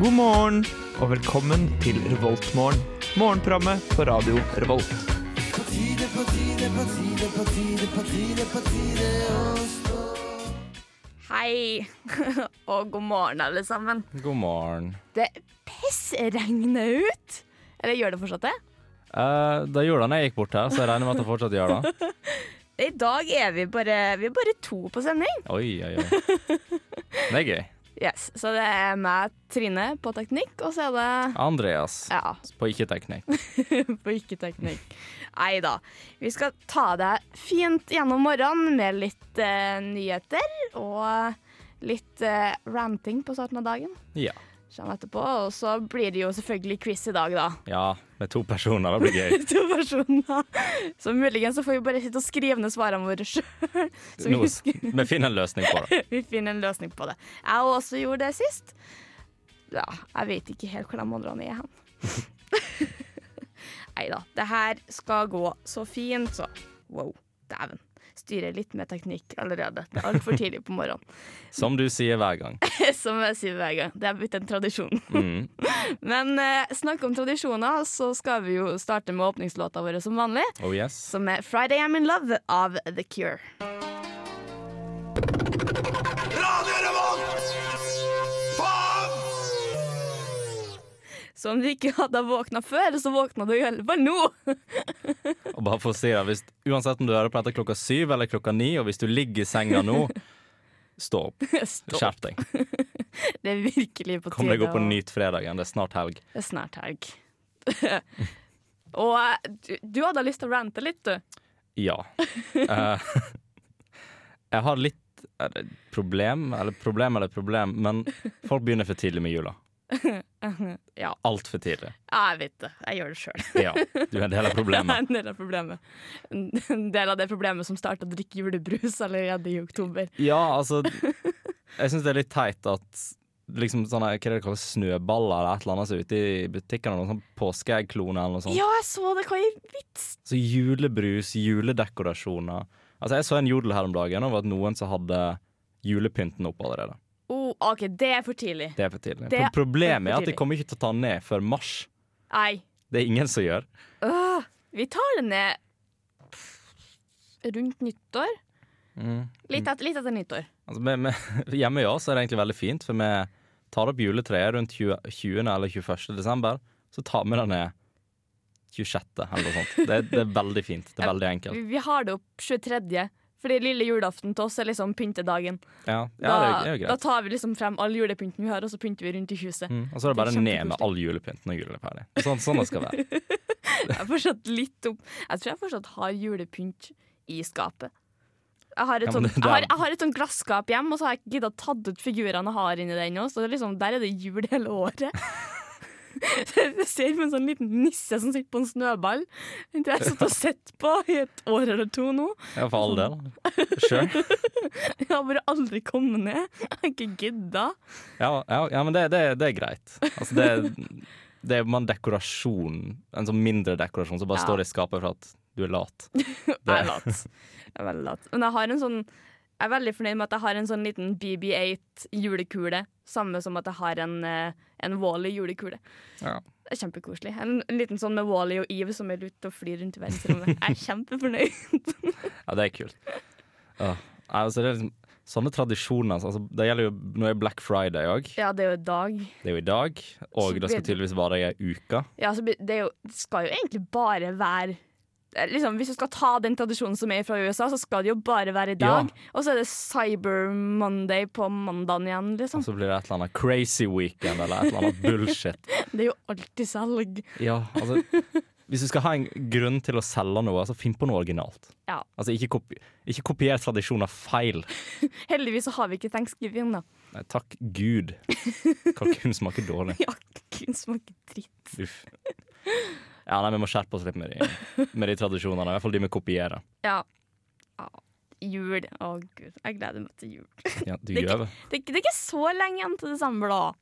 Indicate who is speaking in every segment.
Speaker 1: God morgen og velkommen til Revoltmorgen. Morgenprogrammet på radio Revolt.
Speaker 2: Hei, og god morgen, alle sammen.
Speaker 3: God morgen.
Speaker 2: Det pissregner ut. Eller gjør det fortsatt det?
Speaker 3: Eh, det gjorde det da jeg gikk bort her, så jeg regner med at det fortsatt gjør det.
Speaker 2: I dag er vi bare, vi er bare to på sending.
Speaker 3: Oi, oi, oi. Det er gøy.
Speaker 2: Yes, Så det er meg, Trine, på teknikk, og så er det
Speaker 3: Andreas
Speaker 2: ja,
Speaker 3: på ikke-teknikk.
Speaker 2: på ikke-teknikk. Nei da. Vi skal ta det fint gjennom morgenen med litt eh, nyheter og litt eh, ranting på starten av dagen.
Speaker 3: Ja.
Speaker 2: Kommer etterpå, Og så blir det jo selvfølgelig quiz i dag, da.
Speaker 3: ja. Med to personer, det blir gøy.
Speaker 2: to personer. Så muligens så får vi bare sitte og skrive ned svarene våre sjøl. Så vi,
Speaker 3: Nå, s-
Speaker 2: husker,
Speaker 3: vi finner en løsning på det.
Speaker 2: vi finner en løsning på det. Jeg har også gjorde det sist. Ja, jeg vet ikke helt hvor de andre er hen. Nei da. Det her skal gå så fint, så wow, dæven. Styrer litt med teknikk allerede. Det er altfor tidlig på morgenen.
Speaker 3: Som du sier hver gang.
Speaker 2: Som jeg sier hver gang. Det har blitt en tradisjon.
Speaker 3: Mm.
Speaker 2: Men eh, snakk om tradisjoner, så skal vi jo starte med åpningslåta vår som vanlig.
Speaker 3: Oh yes.
Speaker 2: som er 'Friday I'm In Love' av The Cure. Så om du ikke hadde våkna før, så våkna du i alle fall nå.
Speaker 3: Og bare for å si det, hvis, uansett om du hører på dette klokka syv eller klokka ni, og hvis du ligger i senga nå, stå opp.
Speaker 2: Stopp.
Speaker 3: Skjerp deg.
Speaker 2: Det er virkelig på tide.
Speaker 3: Kom deg opp og
Speaker 2: å-
Speaker 3: nyt fredagen. Det er snart helg.
Speaker 2: Det er snart helg. og eh, du, du hadde lyst til å rante litt, du.
Speaker 3: Ja. Eh, jeg har litt eh, problem, eller problem eller problem, men folk begynner for tidlig med jula.
Speaker 2: Ja.
Speaker 3: Altfor tidlig.
Speaker 2: Ja, Jeg vet det. Jeg gjør det sjøl.
Speaker 3: Ja, du er en del av problemet.
Speaker 2: En del av problemet. En del av det problemet som starta å drikke julebrus allerede i oktober.
Speaker 3: Ja, altså Jeg syns det er litt teit at liksom sånne, hva er det de kaller snøballer eller et eller annet som er ute i butikkene, noen sånn påskeeggkloner eller noe sånt.
Speaker 2: Ja, jeg så det! Hva i vits?
Speaker 3: Så julebrus, juledekorasjoner. Altså, jeg så en jodel her om dagen over at noen som hadde julepynten opp allerede.
Speaker 2: Oh, OK, det er for tidlig.
Speaker 3: Det er for tidlig.
Speaker 2: Det er
Speaker 3: Pro-
Speaker 2: for
Speaker 3: Problemet er at de
Speaker 2: tidlig.
Speaker 3: kommer ikke til å ta den ned før mars.
Speaker 2: Nei.
Speaker 3: Det er ingen som gjør.
Speaker 2: Øh, vi tar det ned pff, rundt nyttår.
Speaker 3: Mm.
Speaker 2: Litt, et, litt etter nyttår.
Speaker 3: Altså, vi, vi, hjemme i oss er det egentlig veldig fint, for vi tar opp juletreet rundt 20, 20. eller 21. desember. Så tar vi det ned 26. eller noe sånt. Det, det er veldig fint. Det er veldig
Speaker 2: Vi,
Speaker 3: enkelt.
Speaker 2: vi har det opp 23. Fordi lille julaften til oss er liksom pyntedagen.
Speaker 3: Ja, ja
Speaker 2: Da,
Speaker 3: det, er, jo- det er jo
Speaker 2: da
Speaker 3: greit.
Speaker 2: tar vi liksom frem all julepynten vi har, og så pynter vi rundt i huset.
Speaker 3: Mm. Og så er det
Speaker 2: det
Speaker 3: bare
Speaker 2: er
Speaker 3: ned med
Speaker 2: kjempekoselig.
Speaker 3: all julepynt når julen er ferdig. Sånn, sånn det skal være.
Speaker 2: Jeg er fortsatt litt opp Jeg tror jeg fortsatt har julepynt i skapet. Jeg har, et
Speaker 3: Ja, men
Speaker 2: sånn,
Speaker 3: det-
Speaker 2: jeg,
Speaker 3: det er-
Speaker 2: har, jeg har et sånn glasskap hjemme, og så har jeg ikke gidda tatt ut figurene jeg har inni det ennå. Så det er liksom, der er det jul hele året. Så Jeg ser på en sånn liten nisse som sitter på en snøball. Den har jeg satt og sett på i et år eller to nå.
Speaker 3: Ja, for
Speaker 2: Sånn.
Speaker 3: all del. Sure.
Speaker 2: Jeg har bare aldri kommet ned. Jeg har ikke gidda.
Speaker 3: Ja, ja, ja men det, det, det er greit. Altså, det, det er bare en dekorasjon, en sånn mindre dekorasjon, som bare
Speaker 2: Ja.
Speaker 3: står i skapet for at du er lat.
Speaker 2: Jeg er lat. Jeg er veldig lat. Men jeg har en sånn Jeg er veldig fornøyd med at jeg har en sånn liten BB8 julekule. Samme som at jeg har en, eh, en Wally julekule.
Speaker 3: Ja.
Speaker 2: Det er kjempekoselig. En, en liten sånn med Wally og Eve som er ute og flyr rundt i verdensrommet. Jeg er kjempefornøyd.
Speaker 3: Ja, det er kult. Ja. Nei, Altså, det er liksom, sånne tradisjoner altså, Det gjelder jo Nå er Black Friday òg.
Speaker 2: Ja, det er jo i dag.
Speaker 3: Det er jo i dag.
Speaker 2: Så
Speaker 3: Og det skal
Speaker 2: blir-
Speaker 3: tydeligvis vare i ei uke.
Speaker 2: Ja, så blir- det, er jo, det skal jo egentlig bare være det er liksom, Hvis du skal ta den tradisjonen som er fra USA, så skal det jo bare være i
Speaker 3: Ja.
Speaker 2: dag. Og så er det Cyber Monday på mandagen igjen, liksom.
Speaker 3: Og så blir det et eller annet crazy weekend eller et eller annet bullshit.
Speaker 2: Det er jo alltid salg.
Speaker 3: Ja, altså Hvis du skal ha en grunn til å selge noe, så finn på noe originalt.
Speaker 2: Ja.
Speaker 3: Altså, ikke, kopi ikke kopier tradisjoner feil.
Speaker 2: Heldigvis så har vi ikke thanksgiving, da.
Speaker 3: Nei, takk Gud. Kalkun smaker dårlig.
Speaker 2: Ja, kun smaker dritt.
Speaker 3: Uff. Ja, nei, vi må skjerpe oss litt med de, med de tradisjonene. I hvert fall de vi kopierer.
Speaker 2: Ja. ja. Jul. Å, gud. Jeg gleder meg til jul.
Speaker 3: Ja, du
Speaker 2: Det er
Speaker 3: gjør
Speaker 2: ikke-
Speaker 3: det.
Speaker 2: Det, er ikke- det er ikke så lenge igjen til desember, da.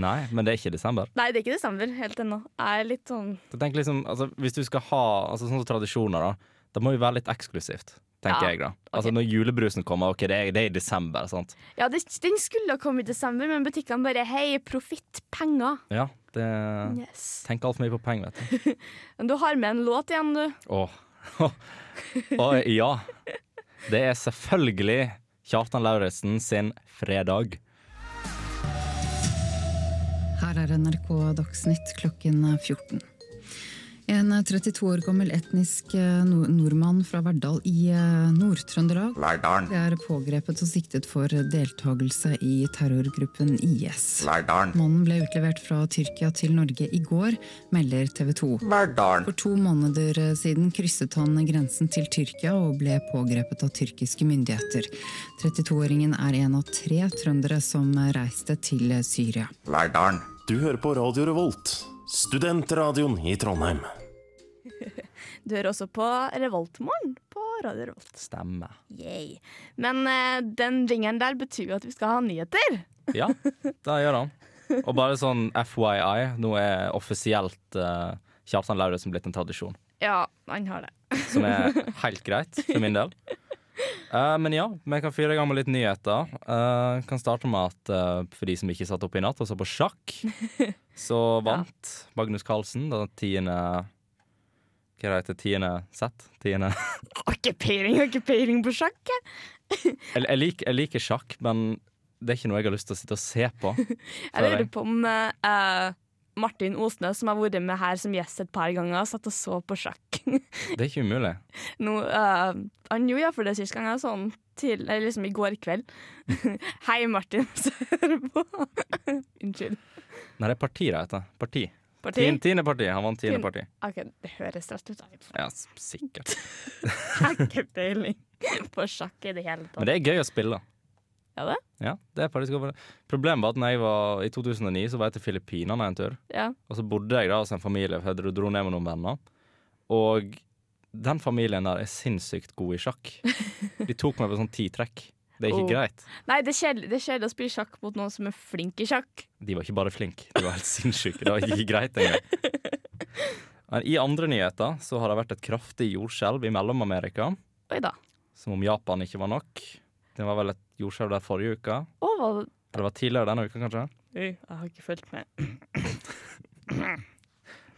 Speaker 3: Nei, men det er ikke desember.
Speaker 2: Nei, det er ikke desember helt ennå. Jeg er litt sånn
Speaker 3: Så tenk liksom, altså, Hvis du skal ha altså, sånne tradisjoner, da, det må jo være litt eksklusivt. tenker
Speaker 2: Ja,
Speaker 3: jeg da. Altså Når julebrusen kommer, ok, det er, det er i desember. sant?
Speaker 2: Ja, det, den skulle ha kommet i desember, men butikkene bare Hei, profitt, penger.
Speaker 3: Ja, det
Speaker 2: Yes.
Speaker 3: Tenk altfor mye på penger, vet du.
Speaker 2: Men du har med en låt igjen, du.
Speaker 3: Åh. Åh, ja. Det er selvfølgelig Kjartan Lauritzen sin 'Fredag'.
Speaker 4: Her er NRK Dagsnytt klokken 14. En 32 år gammel etnisk eh, nor- nordmann fra Verdal i eh, Nord-Trøndelag
Speaker 5: Verdalen,
Speaker 4: er pågrepet og siktet for deltakelse i terrorgruppen IS.
Speaker 5: Verdalen,
Speaker 4: Mannen ble utlevert fra Tyrkia til Norge i går, melder TV 2.
Speaker 5: Verdalen,
Speaker 4: For to måneder eh, siden krysset han grensen til Tyrkia og ble pågrepet av tyrkiske myndigheter. 32-åringen er en av tre trøndere som reiste til Syria.
Speaker 5: Verdalen.
Speaker 6: Du hører på Radio Revolt, studentradioen i Trondheim.
Speaker 2: Du hører også på Revoltmorgen på Radio Revolt.
Speaker 3: Stemmer.
Speaker 2: Yay. Men eh, den ringeren der betyr jo at vi skal ha nyheter.
Speaker 3: Ja, det gjør han. Og bare sånn FYI, nå er offisielt eh, Kjartan Lauritzen blitt en tradisjon.
Speaker 2: Ja, han har det.
Speaker 3: Som er helt greit, for min del. Eh, men ja, vi kan fyre i gang med litt nyheter. Uh, kan starte med at eh, for de som ikke satt oppe i natt og så på sjakk, så vant Magnus Carlsen det tiende Hva heter det? Tiende sett? Tiende
Speaker 2: Har ikke peiling, har ikke peiling på sjakk. jeg.
Speaker 3: jeg, jeg, lik, jeg liker sjakk, men det er ikke noe jeg har lyst til å sitte og se på.
Speaker 2: Jeg
Speaker 3: Føler
Speaker 2: lurer
Speaker 3: jeg.
Speaker 2: på om eh, eh, Martin Osnes, som har vært med her som gjest et par ganger, satt og så på sjakk.
Speaker 3: Det er ikke umulig.
Speaker 2: Nå, eh, han gjorde iallfall det sist gang, jeg sånn til, eller liksom i går kveld. Hei, Martin, så hører du på. Unnskyld.
Speaker 3: Nei, det er parti det heter. Parti.
Speaker 2: Parti?
Speaker 3: Tien- Tiende parti. Han vant tiende
Speaker 2: Tien-
Speaker 3: parti.
Speaker 2: OK, det høres rett ut. Jeg
Speaker 3: Ja, s- sikkert.
Speaker 2: har ikke peiling på sjakk i det hele
Speaker 3: Men
Speaker 2: tatt.
Speaker 3: det er gøy å spille.
Speaker 2: Ja, det?
Speaker 3: Ja, det er faktisk over det. Problemet var at når jeg var i 2009, så var jeg til Filippinene en tur.
Speaker 2: Ja.
Speaker 3: Og så bodde jeg da hos en familie, for jeg dro- dro ned med noen venner. Og den familien der er sinnssykt god i sjakk. De tok meg på sånn ti trekk. Det er ikke
Speaker 2: Oh.
Speaker 3: greit.
Speaker 2: Nei, det er kjedelig det er kjedelig å spille sjakk mot noen som er flink i sjakk.
Speaker 3: De var ikke bare flinke, de var helt sinnssyke. Det var ikke greit engang. Men I andre nyheter så har det vært et kraftig jordskjelv i Mellom-Amerika.
Speaker 2: Oi da.
Speaker 3: Som om Japan ikke var nok. Det var vel et jordskjelv der forrige uka.
Speaker 2: Å, hva
Speaker 3: Eller det var tidligere denne uka, kanskje.
Speaker 2: Oi, jeg har ikke fulgt med.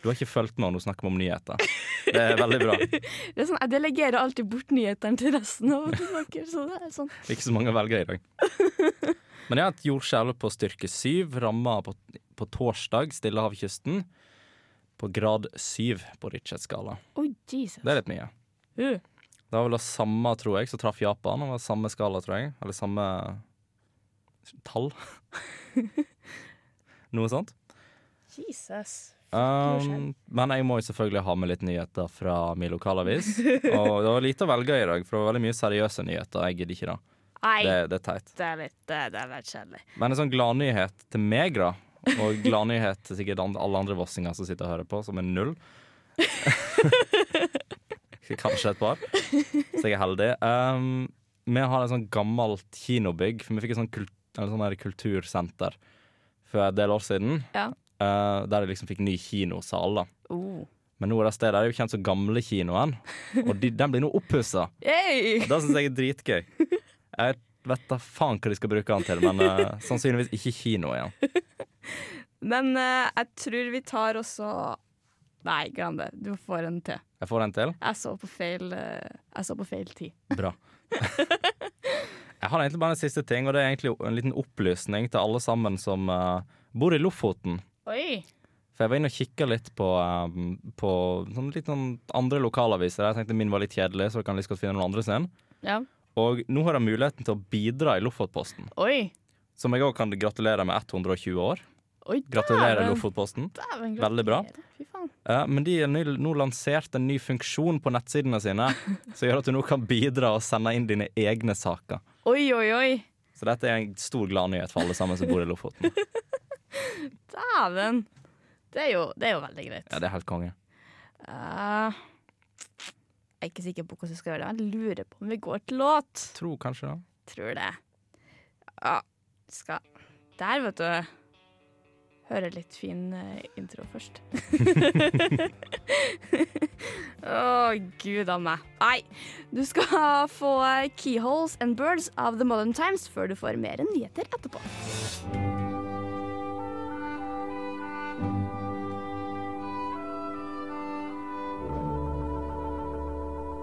Speaker 3: Du har ikke fulgt med når du snakker om nyheter. Det er veldig bra.
Speaker 2: Det er sånn, jeg delegerer alltid bort nyhetene til resten av dere. Så det er sånn.
Speaker 3: Ikke så mange velgere i dag. Men jeg har et jordskjelv på styrke syv, ramma på, på torsdag Stillehavkysten. På grad syv på Richard-skala.
Speaker 2: Oi, Jesus.
Speaker 3: Det er litt mye.
Speaker 2: Uh,
Speaker 3: Det var vel det samme, tror jeg, som traff Japan. Det var samme skala, tror jeg. Eller samme tall. Noe sånt.
Speaker 2: Jesus.
Speaker 3: Um, men jeg må jo selvfølgelig ha med litt nyheter fra min lokalavis. Og det var lite å velge i dag, for det var veldig mye seriøse nyheter. Jeg gidder ikke da.
Speaker 2: Nei,
Speaker 3: Det, det er teit.
Speaker 2: det er litt, det, det er litt kjedelig.
Speaker 3: Men en sånn gladnyhet til meg, da. Og gladnyhet til sikkert an- alle andre vossinger som sitter og hører på, som er null. Kanskje et par, så jeg er heldig. Um, vi har et sånn gammelt kinobygg. For vi fikk et sånn, kult, eller sånn her kultursenter for en del år siden.
Speaker 2: Ja.
Speaker 3: eh, der de liksom fikk ny kinosal, da.
Speaker 2: Oh.
Speaker 3: Men nå er det stedet er jo kjent som gamle kinoen, og de, den blir nå oppussa.
Speaker 2: Hey!
Speaker 3: Det syns jeg er dritgøy. Jeg vet da faen hva de skal bruke den til, men eh, sannsynligvis ikke kino igjen.
Speaker 2: Men eh, jeg tror vi tar også Nei, glem det. Du får en til.
Speaker 3: Jeg får den til.
Speaker 2: Jeg så på feil, eh, jeg så på feil tid.
Speaker 3: Bra. Jeg har egentlig bare en siste ting, og det er egentlig en liten opplysning til alle sammen som eh, bor i Lofoten.
Speaker 2: Oi!
Speaker 3: For jeg var inne og kikka litt på, um, på sånn litt sånn andre lokalaviser. Jeg tenkte min var litt kjedelig, så jeg kan like godt finne noen andre sin.
Speaker 2: Ja.
Speaker 3: Og nå har jeg muligheten til å bidra i Lofotposten.
Speaker 2: Oi!
Speaker 3: Som jeg òg kan gratulere med 120 år.
Speaker 2: Oi
Speaker 3: Gratulerer,
Speaker 2: dæven.
Speaker 3: Lofotposten.
Speaker 2: Dæven,
Speaker 3: Veldig bra.
Speaker 2: gratulerer. Fy faen.
Speaker 3: Eh, men de har ny- nå lansert en ny funksjon på nettsidene sine som gjør at du nå kan bidra og sende inn dine egne saker.
Speaker 2: Oi, oi, oi.
Speaker 3: Så dette er en stor gladnyhet for alle sammen som bor i Lofoten.
Speaker 2: Dæven. Det er jo, det er jo veldig greit.
Speaker 3: Ja, det er helt konge.
Speaker 2: Eh, jeg er ikke sikker på hvordan vi skal gjøre det. Jeg lurer på om vi går til låt.
Speaker 3: Tror kanskje det.
Speaker 2: Tror det. Ja, skal Der, vet du. Hører litt fin eh, intro først. Å, gud a meg. Nei. Du skal få Keyholes and Birds av The Modern Times før du får mer nyheter etterpå.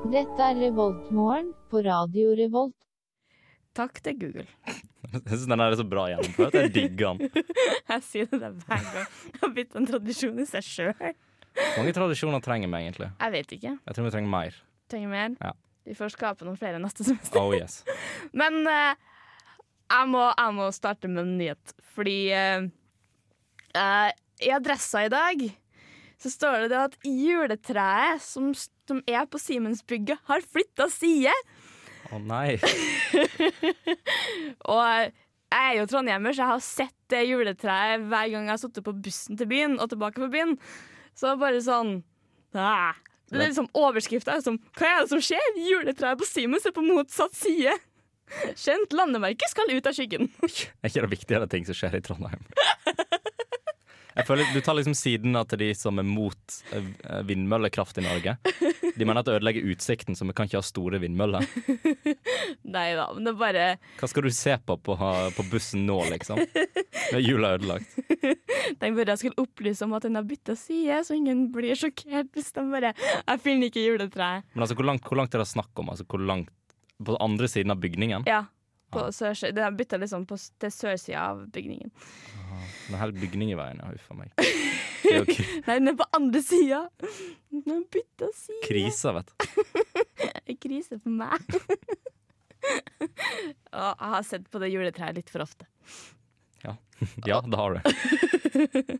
Speaker 5: Dette er Revoltmorgen på Radio Revolt.
Speaker 2: Takk til Google.
Speaker 3: Jeg synes den her er så bra gjennomført. Jeg digger den.
Speaker 2: Jeg sier det der hver gang. Det har blitt en tradisjon i seg sjøl.
Speaker 3: Mange tradisjoner trenger vi egentlig.
Speaker 2: Jeg vet ikke.
Speaker 3: Jeg tror vi trenger mer.
Speaker 2: Trenger mer.
Speaker 3: Ja.
Speaker 2: Vi får skape noen flere neste semester.
Speaker 3: Oh yes.
Speaker 2: Men eh, jeg, må, jeg må starte med en nyhet, fordi eh, eh, i adressa i dag så står det det at juletreet som, som er på Simensbygget, har flytta side.
Speaker 3: Å nei.
Speaker 2: Og eh, jeg er jo trondhjemmer, så jeg har sett det juletreet hver gang jeg har sittet på bussen til byen og tilbake på byen. Så bare sånn ah. Det er liksom Overskrifta er som 'Hva er det som skjer? Juletreet på Simens er på motsatt side'. Kjent landemerke skal ut av skyggen.
Speaker 3: Er ikke det viktigere ting som skjer i Trondheim? Jeg føler Du tar liksom siden av til de som er mot eh, vindmøllekraft i Norge. De mener at det ødelegger utsikten, så vi kan ikke ha store vindmøller.
Speaker 2: Nei da, men det er bare
Speaker 3: Hva skal du se på på, på bussen nå, liksom? Når jula er ødelagt.
Speaker 2: Den burde jeg skulle opplyse om at den har bytta side, så ingen blir sjokkert hvis de bare Jeg finner ikke juletreet.
Speaker 3: Men altså, hvor langt, hvor langt er det snakk om? Altså, hvor langt På andre siden av bygningen?
Speaker 2: Ja. På
Speaker 3: Ah.
Speaker 2: sørsida. Den har bytta liksom på, s- til sørsida av bygningen.
Speaker 3: Det er en hel bygning i veien, ja. Huff a meg. Det er jo kri-
Speaker 2: Nei, den er på andre sida! Den har bytta side.
Speaker 3: kriser, vet du.
Speaker 2: Det er krise for meg. Og jeg har sett på det juletreet litt for ofte.
Speaker 3: Ja, det har du.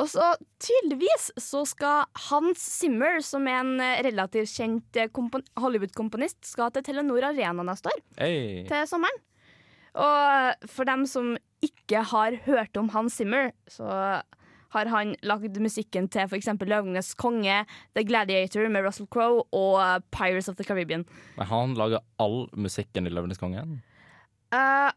Speaker 2: Og så tydeligvis så skal Hans Zimmer, som er en eh, relativt kjent eh, kompon- Hollywood-komponist, skal til Telenor Arena neste år.
Speaker 3: Hey.
Speaker 2: til sommeren. Og for dem som ikke har hørt om Hans Zimmer, så har han lagd musikken til f.eks. Løvenes konge, The Gladiator med Russell Crowe og Pirates of the Caribbean.
Speaker 3: Men han lager all musikken i Løvenes konge?
Speaker 2: Eh,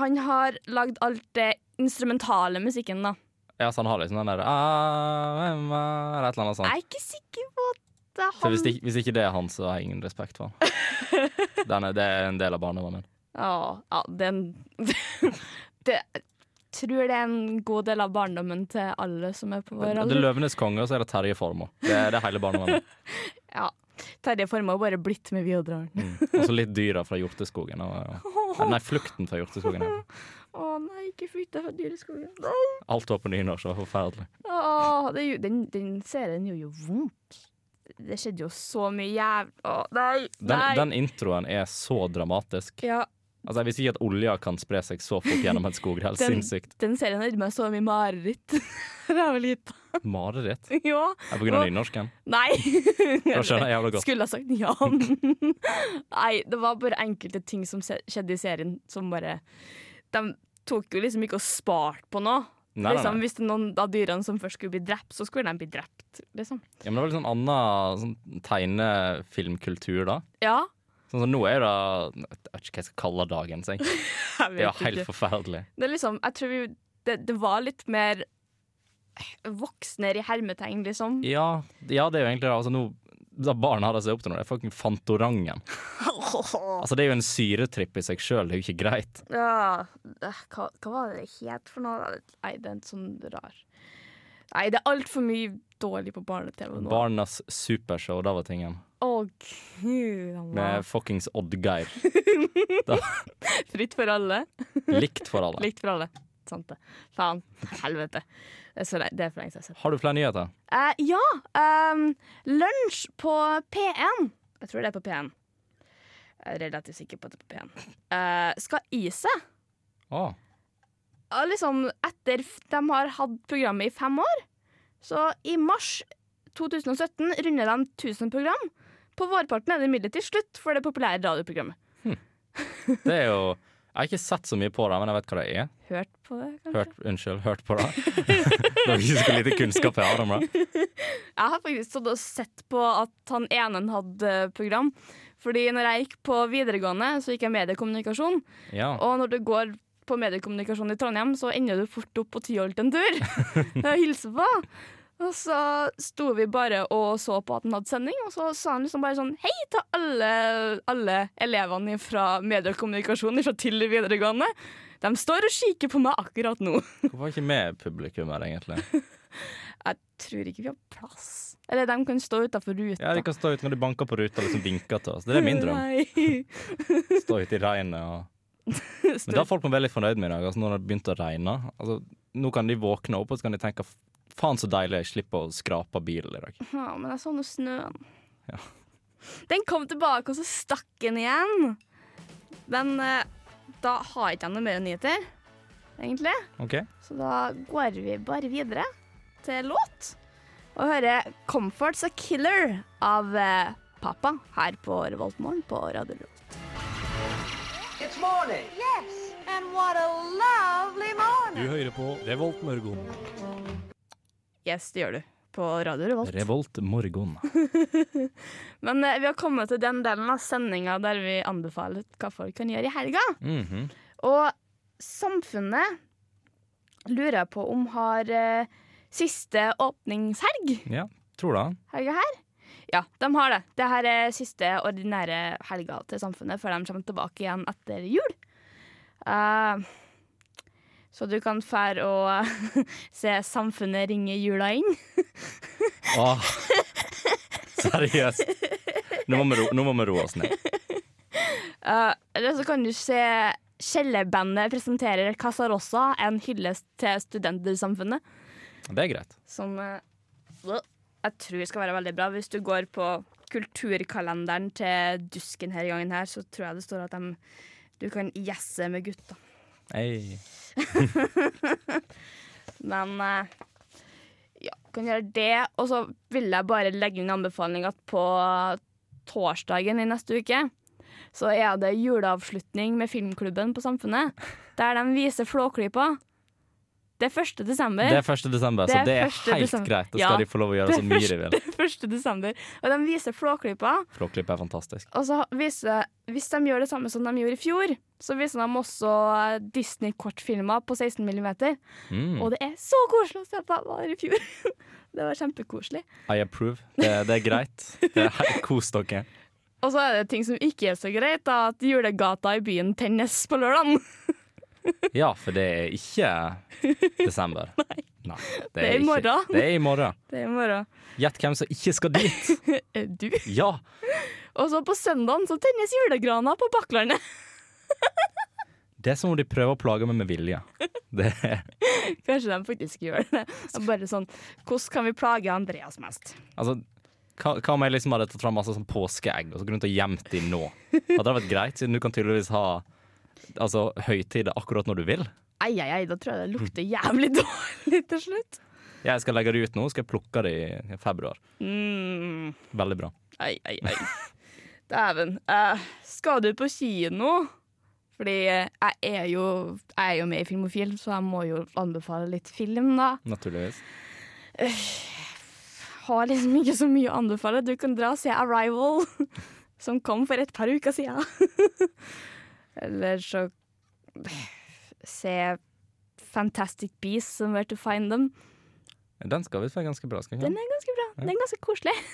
Speaker 2: han har lagd alt det instrumentale musikken, da.
Speaker 3: Ja, så han har liksom den der «Ah, hvem er?» Eller et eller annet sånt.
Speaker 2: Jeg er ikke sikker på at det er
Speaker 3: Så hvis,
Speaker 2: han
Speaker 3: ikke, hvis ikke det er han, så har jeg ingen respekt for han. Den er, det er en del av barndommen min.
Speaker 2: Ja, ja den det, Jeg tror det er en god del av barndommen til alle som er på
Speaker 3: Det
Speaker 2: vår
Speaker 3: er
Speaker 2: alder.
Speaker 3: Løvenes konge, og så er det Terje Formoe. Det, er- det er hele barndommen min.
Speaker 2: Ja. Terje Formoe har bare blitt med videodraren.
Speaker 3: Mm. Og så litt dyra fra Hjorteskogen. Og, og, nei, Flukten fra Hjorteskogen. ja.
Speaker 2: Å nei, ikke flytt deg fra dyreskogen.
Speaker 3: Alt var på nynorsk, det var forferdelig.
Speaker 2: Å, det, er jo- den, den serien gjør jo vondt. Det skjedde jo så mye jævlig Å, nei!
Speaker 3: Den,
Speaker 2: nei.
Speaker 3: den introen er så dramatisk.
Speaker 2: ja,
Speaker 3: Altså, Jeg visste ikke at olja kan spre seg så fort gjennom en skog. Det er helt
Speaker 2: Den-
Speaker 3: sinnssykt.
Speaker 2: den serien har gitt meg så mye mareritt. Det er vel gitt
Speaker 3: Mareritt.
Speaker 2: Ja.
Speaker 3: Ja, på grunn av nynorsken.
Speaker 2: Nei.
Speaker 3: Da skjønner jeg jævlig godt.
Speaker 2: Skulle ha sagt ja. Nei, det var bare enkelte ting som se- skjedde i serien som bare De tok jo liksom ikke og spart på noe.
Speaker 3: Nei, nei,
Speaker 2: liksom,
Speaker 3: nei.
Speaker 2: Hvis det er noen av dyrene som først skulle bli drept, så skulle de bli drept, liksom.
Speaker 3: Ja, men det var litt sånn annen sånn, tegnefilmkultur da.
Speaker 2: Ja.
Speaker 3: Sånn som nå er det Jeg vet ikke hva jeg skal kalle dagen. Så jeg.
Speaker 2: Jeg
Speaker 3: Det er jo
Speaker 2: vet
Speaker 3: helt
Speaker 2: ikke.
Speaker 3: forferdelig.
Speaker 2: Det er liksom, jeg tror vi, det, det var litt mer voksne i hermetegn, liksom.
Speaker 3: Ja, ja det er jo egentlig det. Altså, nå, da barn hadde seg opp til noe, det er fucking Fantorangen. Altså, det er jo en syretripp i seg sjøl, det er jo ikke greit.
Speaker 2: Ja, eh, hva, hva var det det het for noe? Nei, det er en sånn rar Nei, det er altfor mye dårlig på barne-TV nå.
Speaker 3: Barnas supershow, da var tingen.
Speaker 2: Å, gud han
Speaker 3: Med
Speaker 2: var
Speaker 3: fuckings Oddgeir.
Speaker 2: Fritt for alle.
Speaker 3: Likt for alle.
Speaker 2: Likt for alle. Sant det. Faen. Helvete. Det er, så, le- det er for lenge siden jeg har sett.
Speaker 3: Har du flere nyheter?
Speaker 2: Eh, ja. ehm, lunsj på P1. Jeg tror det er på P1. Jeg er relativt sikker på at det er på P1. Eh, skal gi seg.
Speaker 3: Å,
Speaker 2: Og liksom etter f- de har hatt programmet i fem år. Så i mars 2017 runder de 1000 program. På vårparten er det imidlertid slutt for det populære radioprogrammet.
Speaker 3: det er jo Jeg har ikke sett så mye på det, men jeg vet hva det er.
Speaker 2: Hørt på det, kanskje?
Speaker 3: Hørt, unnskyld, hørt på det. det var ikke så lite kunnskap jeg hadde om det.
Speaker 2: Jeg har faktisk stått og sett på at han enen hadde program. Fordi når jeg gikk på videregående, så gikk jeg mediekommunikasjon.
Speaker 3: Ja.
Speaker 2: Og når du går på mediekommunikasjon i Trondheim, så ender du fort opp på Tyholt en tur. og hilser på. Og så sto vi bare og så på at han hadde sending, og så sa han liksom bare sånn Hei til alle, alle elevene fra mediekommunikasjon fra Tiller videregående. De står og kikker på meg akkurat nå.
Speaker 3: Hvorfor er ikke vi publikum her, egentlig?
Speaker 2: Jeg tror ikke vi har plass. Eller de kan stå utafor ruta.
Speaker 3: Ja, De kan stå ute når de banker på ruta og liksom vinker til oss. Det er min drøm.
Speaker 2: Nei.
Speaker 3: Stå ute i regnet og Men da er folk veldig fornøyd med i dag. Altså, når det har begynt å regne. Altså, nå kan de våkne opp og så kan de tenke faen så deilig, jeg slipper å skrape av bilen i dag.
Speaker 2: Ja, men jeg så nå snøen.
Speaker 3: Ja.
Speaker 2: Den kom tilbake, og så stakk den igjen. Men eh, da har ikke jeg noe mer nyheter, egentlig.
Speaker 3: Ok?
Speaker 2: Så da går vi bare videre til låt og hører 'Comfort's a Killer' av eh, Pappa her på Revoltmorgen på Radio Revolt.
Speaker 7: Du hører på Revolt Mørgon.
Speaker 2: Yes, det gjør du. På Radio Revolt.
Speaker 3: Revolt morgen.
Speaker 2: Men eh, vi har kommet til den delen av sendinga der vi anbefaler hva folk kan gjøre i helga.
Speaker 3: Mhm.
Speaker 2: Og samfunnet lurer jeg på om har eh, siste åpningshelg
Speaker 3: Ja, tror det.
Speaker 2: helga her. Ja, de har det. Det her er siste ordinære helga til samfunnet før de kommer tilbake igjen etter jul. Eh, så du kan fære og se Samfunnet ringe jula inn.
Speaker 3: Åh. Seriøst. Nå må, vi ro, nå må vi roe oss ned.
Speaker 2: Eh, eller så kan du se Kjellerbandet presenterer Casarossa, en hyllest til studentersamfunnet.
Speaker 3: Det er greit.
Speaker 2: som eh, blå, jeg tror skal være veldig bra. Hvis du går på kulturkalenderen til Dusken her i gangen her, så tror jeg det står at dem- du kan gjesse med gutta.
Speaker 3: Ei.
Speaker 2: Men eh, ja, kan gjøre det. Og så vil jeg bare legge inn en anbefaling at på torsdagen i neste uke så er det juleavslutning med Filmklubben på Samfunnet, der de viser Flåklypa. Det er 1. desember.
Speaker 3: Det er 1. desember, så
Speaker 2: Det er
Speaker 3: det er
Speaker 2: 1.
Speaker 3: helt
Speaker 2: desember.
Speaker 3: greit. Da
Speaker 2: Ja.
Speaker 3: skal de få lov å gjøre så mye de vil.
Speaker 2: 1. desember. Og de viser Flåklypa.
Speaker 3: Flåklipp er fantastisk.
Speaker 2: Og så viser, hvis de gjør det samme som de gjorde i fjor, så viser de også eh, Disney-kortfilmer på 16 mm.
Speaker 3: Mm.
Speaker 2: Og det er så koselig å se på hva det var i fjor. det var kjempekoselig.
Speaker 3: I approve. Det, det er greit. Det er helt Kos dere.
Speaker 2: Og så er det ting som ikke er så greit, da, at julegata i byen tennes på lørdagen.
Speaker 3: Ja, for det er ikke desember. Nei.
Speaker 2: Det er i
Speaker 3: ikke-
Speaker 2: morgen.
Speaker 3: Det er i morgen.
Speaker 2: Det er i morgen.
Speaker 3: Gjett hvem som ikke skal dit.
Speaker 2: Eh, Du.
Speaker 3: Ja,
Speaker 2: Og så på søndagen så tennes julegrana på Bakklandet.
Speaker 3: det er som om de prøver å plage meg med vilje. Det er,
Speaker 2: Kanskje de faktisk gjør det. Det er Bare sånn Hvordan kan vi plage Andreas mest?
Speaker 3: altså, hva, hva om jeg liksom hadde tatt fram masse sånn påskeegg og så grunnet og gjemt de nå? Hadde det vært greit, siden du kan tydeligvis ha altså, høytider akkurat når du vil?
Speaker 2: Ei, ei, ei, da tror jeg det lukter jævlig dårlig til slutt.
Speaker 3: Jeg skal legge de ut nå, skal jeg plukke de i februar.
Speaker 2: Mm.
Speaker 3: Veldig bra.
Speaker 2: Ei, ei, ei. Dæven. Eh, skal du på kino? Fordi eh, jeg er, jo, jeg er jo med i Filmofil, så jeg må jo anbefale litt film, da.
Speaker 3: Naturligvis.
Speaker 2: Har liksom ikke så mye å anbefale. Du kan dra og se 'Arrival', som kom for et par uker siden. Eller så se 'Fantastic Beasts and Where to Find Them'.
Speaker 3: Den skal visst være ganske bra. Skal vi
Speaker 2: Den
Speaker 3: ikke?
Speaker 2: er ganske bra. Den er ganske koselig.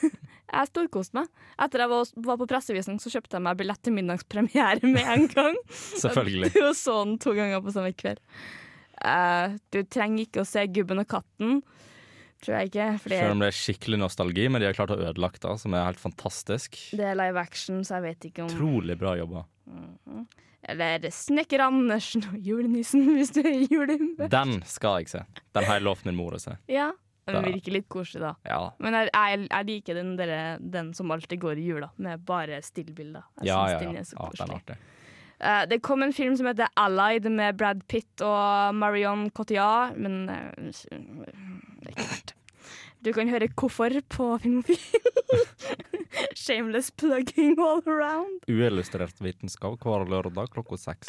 Speaker 2: Jeg storkoste meg. Etter jeg var- var på pressevisning, så kjøpte jeg meg billett til middagspremiere med en gang.
Speaker 3: Selvfølgelig.
Speaker 2: Og så den sånn to ganger på samme kveld. Eh, du trenger ikke å se 'Gubben og katten', tror jeg ikke.
Speaker 3: Selv
Speaker 2: For
Speaker 3: om det er skikkelig nostalgi, men de har klart å ødelegge det, som er helt fantastisk.
Speaker 2: det er live action, så jeg vet ikke om
Speaker 3: Utrolig bra jobba.
Speaker 2: Eller 'Snekker Andersen og julenissen', hvis du er i julehumør.
Speaker 3: Den skal jeg se. Den har jeg lovt min mor å se.
Speaker 2: Ja. Den
Speaker 3: Da-
Speaker 2: virker litt koselig, da.
Speaker 3: Ja,
Speaker 2: Men jeg, jeg, jeg liker den, der, den som alltid går i jula, med bare stillbilder. Jeg
Speaker 3: ja,
Speaker 2: synes
Speaker 3: ja. ja.
Speaker 2: den
Speaker 3: ja
Speaker 2: er så koselig.
Speaker 3: den er artig.
Speaker 2: Eh, det kom en film som heter Allied med Brad Pitt og Marion Cotillard, men eh, det er ikke verdt. Du kan høre hvorfor på Filmofil. Shameless plugging all around.
Speaker 3: Uillustrert vitenskap hver lørdag klokka seks.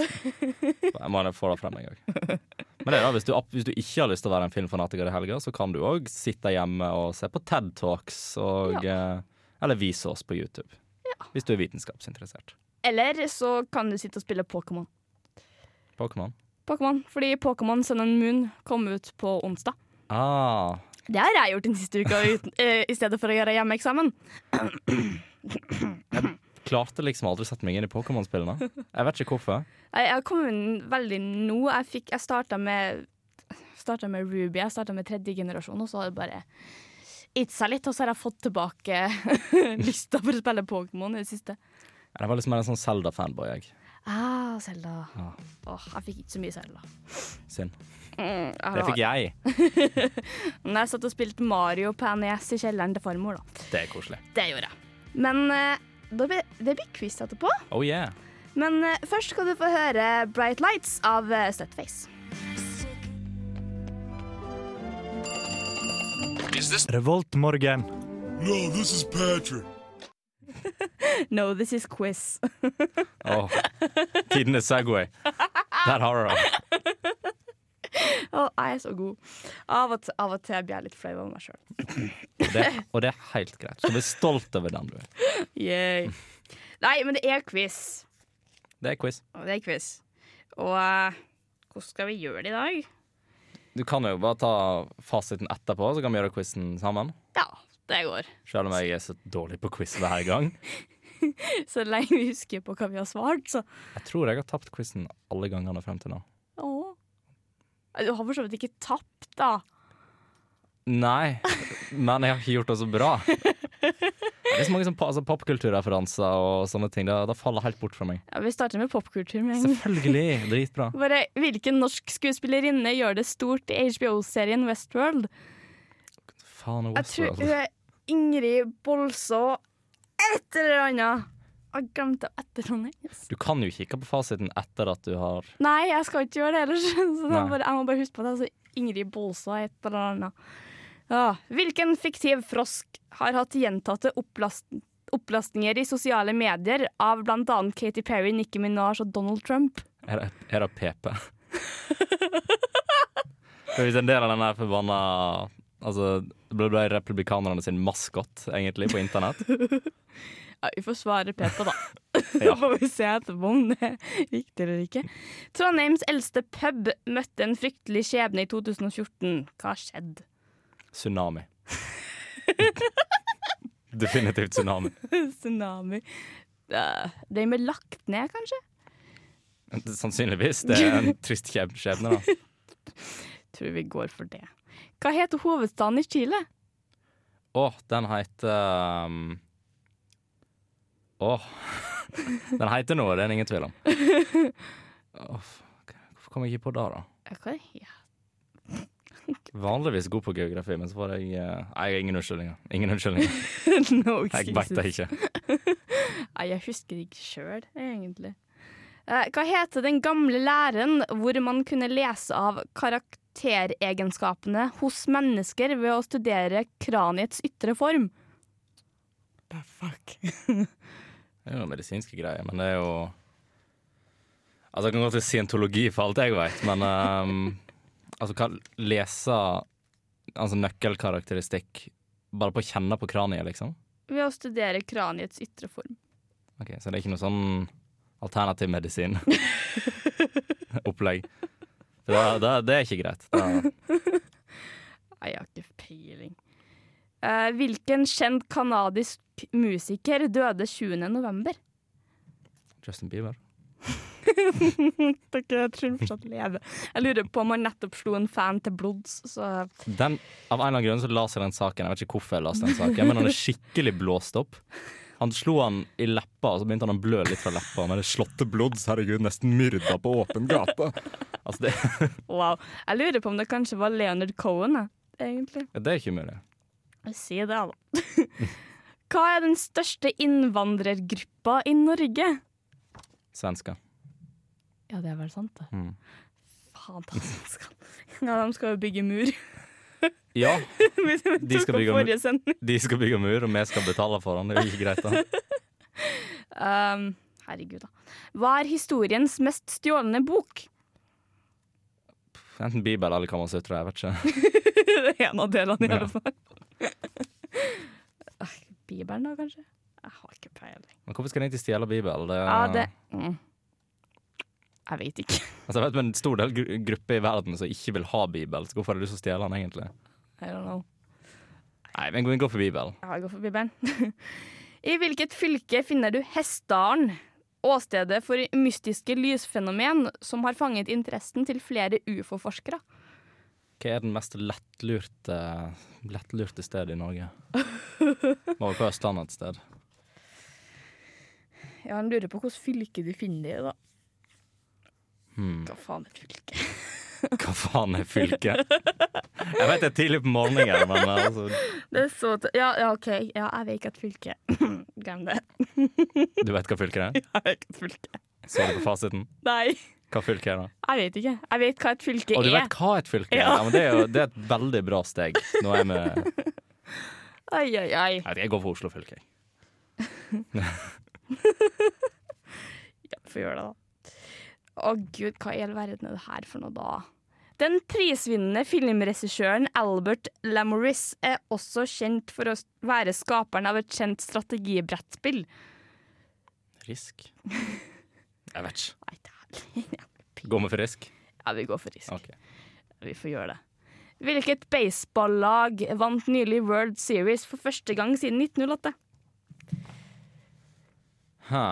Speaker 3: Jeg må få det frem en gang. Men det er da, hvis, du, opp- hvis du ikke har lyst til å være en filmfanatiker i helga, så kan du òg sitte hjemme og se på TED Talks, og, eh, eller vise oss på YouTube. Hvis du er vitenskapsinteressert.
Speaker 2: Eller så kan du sitte og spille Pokémon.
Speaker 3: Pokémon.
Speaker 2: Pokémon. Fordi Pokémon Sun and Moon kom ut på onsdag.
Speaker 3: Ah,
Speaker 2: Det har jeg gjort den siste uka uten, eh, i stedet for å gjøre hjemmeeksamen.
Speaker 3: klarte liksom aldri å sette meg inn i Pokémon-spillene. Jeg vet ikke hvorfor.
Speaker 2: Jeg jeg har kommet inn veldig nå. Jeg, fikk- jeg starta med, startet med Ruby, jeg starta med tredje generasjon, og så har det bare gitt seg litt. Og så har jeg fått tilbake lysta for å spille Pokémon i det siste.
Speaker 3: Jeg var liksom mer en sånn Zelda-fanboy, jeg.
Speaker 2: Ah, Selda.
Speaker 3: Ah.
Speaker 2: Åh, jeg fikk ikke så mye Selda.
Speaker 3: Synd. Det fikk jeg.
Speaker 2: Men jeg satt og spilte Mario på NES i kjelleren til farmor, da.
Speaker 3: Det er koselig.
Speaker 2: Det gjorde jeg. Men eh, da blir- det blir quiz etterpå.
Speaker 3: Oh yeah.
Speaker 2: Men eh, først skal du få høre Bright Lights av eh, Slutface.
Speaker 1: Revoltmorgen.
Speaker 2: No, this is quiz.
Speaker 3: Oh. Tidenes Segway. Der har du det.
Speaker 2: Å, jeg er så god. Av og, til, av og til blir jeg litt flau over meg sjøl.
Speaker 3: Og det. Og det er helt greit. Så bli stolt over den du er.
Speaker 2: Yay. Nei, men det er quiz.
Speaker 3: Det er quiz.
Speaker 2: Og det er quiz. Og eh, hvordan skal vi gjøre det i dag?
Speaker 3: Du kan jo bare ta fasiten etterpå, så kan vi gjøre quizen sammen.
Speaker 2: Ja, det går.
Speaker 3: Selv om jeg er så dårlig på quiz hver gang.
Speaker 2: Så lenge vi husker på hva vi har svart, så
Speaker 3: Jeg tror jeg har tapt quizen alle gangene frem til nå.
Speaker 2: Åh. Du har for så vidt ikke tapt, da.
Speaker 3: Nei, men jeg har ikke gjort det så bra. Det er så mange sånn pa- altså, popkulturreferanser og sånne ting. Det, det faller helt bort fra meg.
Speaker 2: Ja, vi starter med popkultur med en gang.
Speaker 3: Selvfølgelig! Dritbra.
Speaker 2: Bare, Hvilken norsk skuespillerinne gjør det stort i HBO-serien Westworld?
Speaker 3: Faen og
Speaker 2: Jeg tror
Speaker 3: Westworld.
Speaker 2: hun er Ingrid Bolså et eller annet. Jeg glemte etternavnet hennes.
Speaker 3: Du kan jo kikke på fasiten etter at du har
Speaker 2: Nei, jeg skal ikke gjøre det ellers. Så da
Speaker 3: Nei.
Speaker 2: bare, jeg må bare huske på det. Altså, Ingrid Bolså et eller annet. Ja. Hvilken fiktiv frosk har hatt gjentatte opplast opplastninger i sosiale medier av bl.a. Katy Perry, Nicki Minaj og Donald Trump?
Speaker 3: Er det, er det PP? For Hvis en del av den der forbanna Altså, det ble, ble republikanerne sin maskot, egentlig, på internett.
Speaker 2: Ja, vi får svare Peter, da. Så
Speaker 3: Ja.
Speaker 2: får vi se etterpå om det er riktig eller ikke. Trondheims eldste pub møtte en fryktelig skjebne i 2014. Hva skjedde?
Speaker 3: Tsunami. Definitivt tsunami.
Speaker 2: Tsunami. Eh, Den ble lagt ned, kanskje?
Speaker 3: Sannsynligvis. Det er en trist skjeb- skjebne, da.
Speaker 2: Tror vi går for det. Hva heter hovedstaden i Chile?
Speaker 3: Å, den heter um, Å. Den heter noe, det er det ingen tvil om. Å, f- hvorfor kom jeg ikke på det, da?
Speaker 2: Ja, Hva er det?
Speaker 3: Vanligvis god på geografi, men så får jeg eh, Nei, ingen unnskyldninger. Ingen unnskyldninger.
Speaker 2: No
Speaker 3: Jeg veit det ikke.
Speaker 2: Nei, jeg husker det ikke sjøl, egentlig. Eh, Hva heter den gamle læreren hvor man kunne lese av karakteregenskapene hos mennesker ved å studere kraniets ytre form? The fuck?
Speaker 3: Det er jo medisinske greier, men det er jo Altså, jeg kan gå til scientologi for alt jeg veit, men ehm, Altså, hva lese Altså nøkkelkarakteristikk bare på å kjenne på kraniet, liksom?
Speaker 2: Ved å studere kraniets ytre form.
Speaker 3: Ok, Så det er ikke noe sånn alternativ medisin opplegg. For Det, det, det er ikke greit. Det,
Speaker 2: Nei, jeg har ikke peiling. Eh, hvilken kjent kanadisk musiker døde 20. november?
Speaker 3: Justin Bieber.
Speaker 2: Takk, jeg tror han fortsatt lever. Jeg lurer på om han nettopp slo en fan til blods, så
Speaker 3: Den, av en eller annen grunn så las jeg den saken. Jeg vet ikke hvorfor jeg las den saken, men han er skikkelig blåst opp. Han slo han i leppa, og så begynte han å blø litt fra leppa. Med det slåtte blods, herregud, nesten myrda på åpen gate. Altså, det,
Speaker 2: Wow. Jeg lurer på om det kanskje var Leonard Cohen, jeg, egentlig.
Speaker 3: det er ikke umulig.
Speaker 2: Si det, da. Hva er den største innvandrergruppa i Norge?
Speaker 3: Svensker.
Speaker 2: Ja, det er vel sant, det.
Speaker 3: Mm.
Speaker 2: Faen ta svenskene. Ja, de skal jo bygge mur.
Speaker 3: Ja,
Speaker 2: Vi
Speaker 3: De
Speaker 2: tok
Speaker 3: skal
Speaker 2: opp
Speaker 3: bygge mur.
Speaker 2: forrige sending.
Speaker 3: de skal bygge mur, og vi skal betale for den. Det er jo ikke greit, da.
Speaker 2: Um, herregud, da. Hva er historiens mest stjålne bok?
Speaker 3: Enten Bibel eller Kammersutra, jeg vet ikke.
Speaker 2: det er en av delene, i
Speaker 3: Ja.
Speaker 2: alle fall. Ah, Bibelen, da, kanskje? Jeg har ikke peiling.
Speaker 3: Men hvorfor skal de egentlig stjele Bibel? Det,
Speaker 2: Ja, det mm. Jeg vet ikke.
Speaker 3: Altså, jeg vet, men En stor del gru gruppe i verden som ikke vil ha Bibelen, så hvorfor har du lyst til å stjele den egentlig?
Speaker 2: I don't know.
Speaker 3: Nei, men gå inn gå for Bibelen.
Speaker 2: Ja, jeg går for Bibelen. I hvilket fylke finner du Hessdalen? Åstedet for mystiske lysfenomen som har fanget interessen til flere ufo-forskere.
Speaker 3: Hva er den mest lettlurte, lettlurte stedet i Norge? Må vel på Østlandet et sted.
Speaker 2: Ja, Han lurer på hvilket fylke du finner det i, da.
Speaker 3: Hmm.
Speaker 2: Hva faen et fylke?
Speaker 3: Hva faen er fylket? Jeg vet det er tidlig på morgenen, men altså,
Speaker 2: Det er så t ja, ja, OK. Ja, jeg vet ikke et fylke. Glem det.
Speaker 3: du vet hva fylket er?
Speaker 2: Jeg vet ikke et fylke.
Speaker 3: Så du på fasiten?
Speaker 2: Nei,
Speaker 3: Hva fylket er det?
Speaker 2: jeg vet ikke. Jeg vet hva et fylke
Speaker 3: Og du
Speaker 2: er.
Speaker 3: vet hva et fylke er? Ja, men det er jo det er et veldig bra steg. Nå er vi Jeg,
Speaker 2: Ai, ai, ai.
Speaker 3: vet, jeg går for Oslo fylke. jeg.
Speaker 2: Få gjøre det, da. Å gud, hva i all verden er det her for noe, da? Den prisvinnende filmregissøren Albert Lamoris er også kjent for å s- være skaperen av et kjent strategibrettspill.
Speaker 3: Risk? Jeg vet ikke.
Speaker 2: Nei, det er-
Speaker 3: Går vi for risk?
Speaker 2: Ja, vi går for risk.
Speaker 3: Ok.
Speaker 2: Vi får gjøre det. Hvilket baseballag vant nylig World Series for første gang siden 1908?
Speaker 3: Hæ.